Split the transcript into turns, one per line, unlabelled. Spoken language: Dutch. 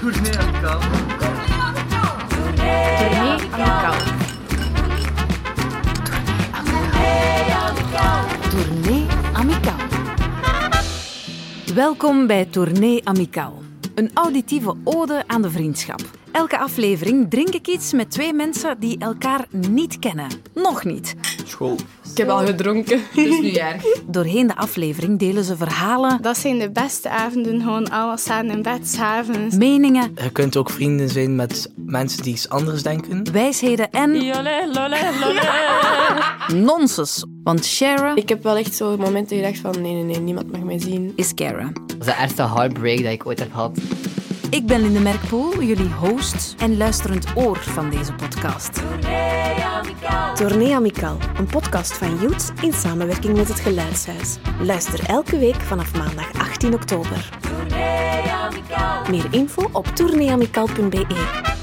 Tournee aan de kou.
Tournee aan de kou. Tournee Amicaal. Welkom bij Tournee Amicaal, een auditieve ode aan de vriendschap. Elke aflevering drink ik iets met twee mensen die elkaar niet kennen. Nog niet.
School.
Ik heb al gedronken. Dus nu erg.
Doorheen de aflevering delen ze verhalen,
Dat zijn de beste avonden, gewoon alles samen in bed, s'avonds.
meningen,
Je kunt ook vrienden zijn met mensen die iets anders denken.
wijsheden en nonsens. Want Shara
Ik heb wel echt zo'n moment dat je dacht van nee, nee, nee, niemand mag mij zien.
is Kara.
Dat is de ergste heartbreak dat ik ooit heb gehad.
Ik ben Linde Merkpoel, jullie host en luisterend oor van deze podcast.
Tournee Amical, een podcast van Youth in samenwerking met het Geluidshuis. Luister elke week vanaf maandag 18 oktober. Meer info op tourneeamical.be.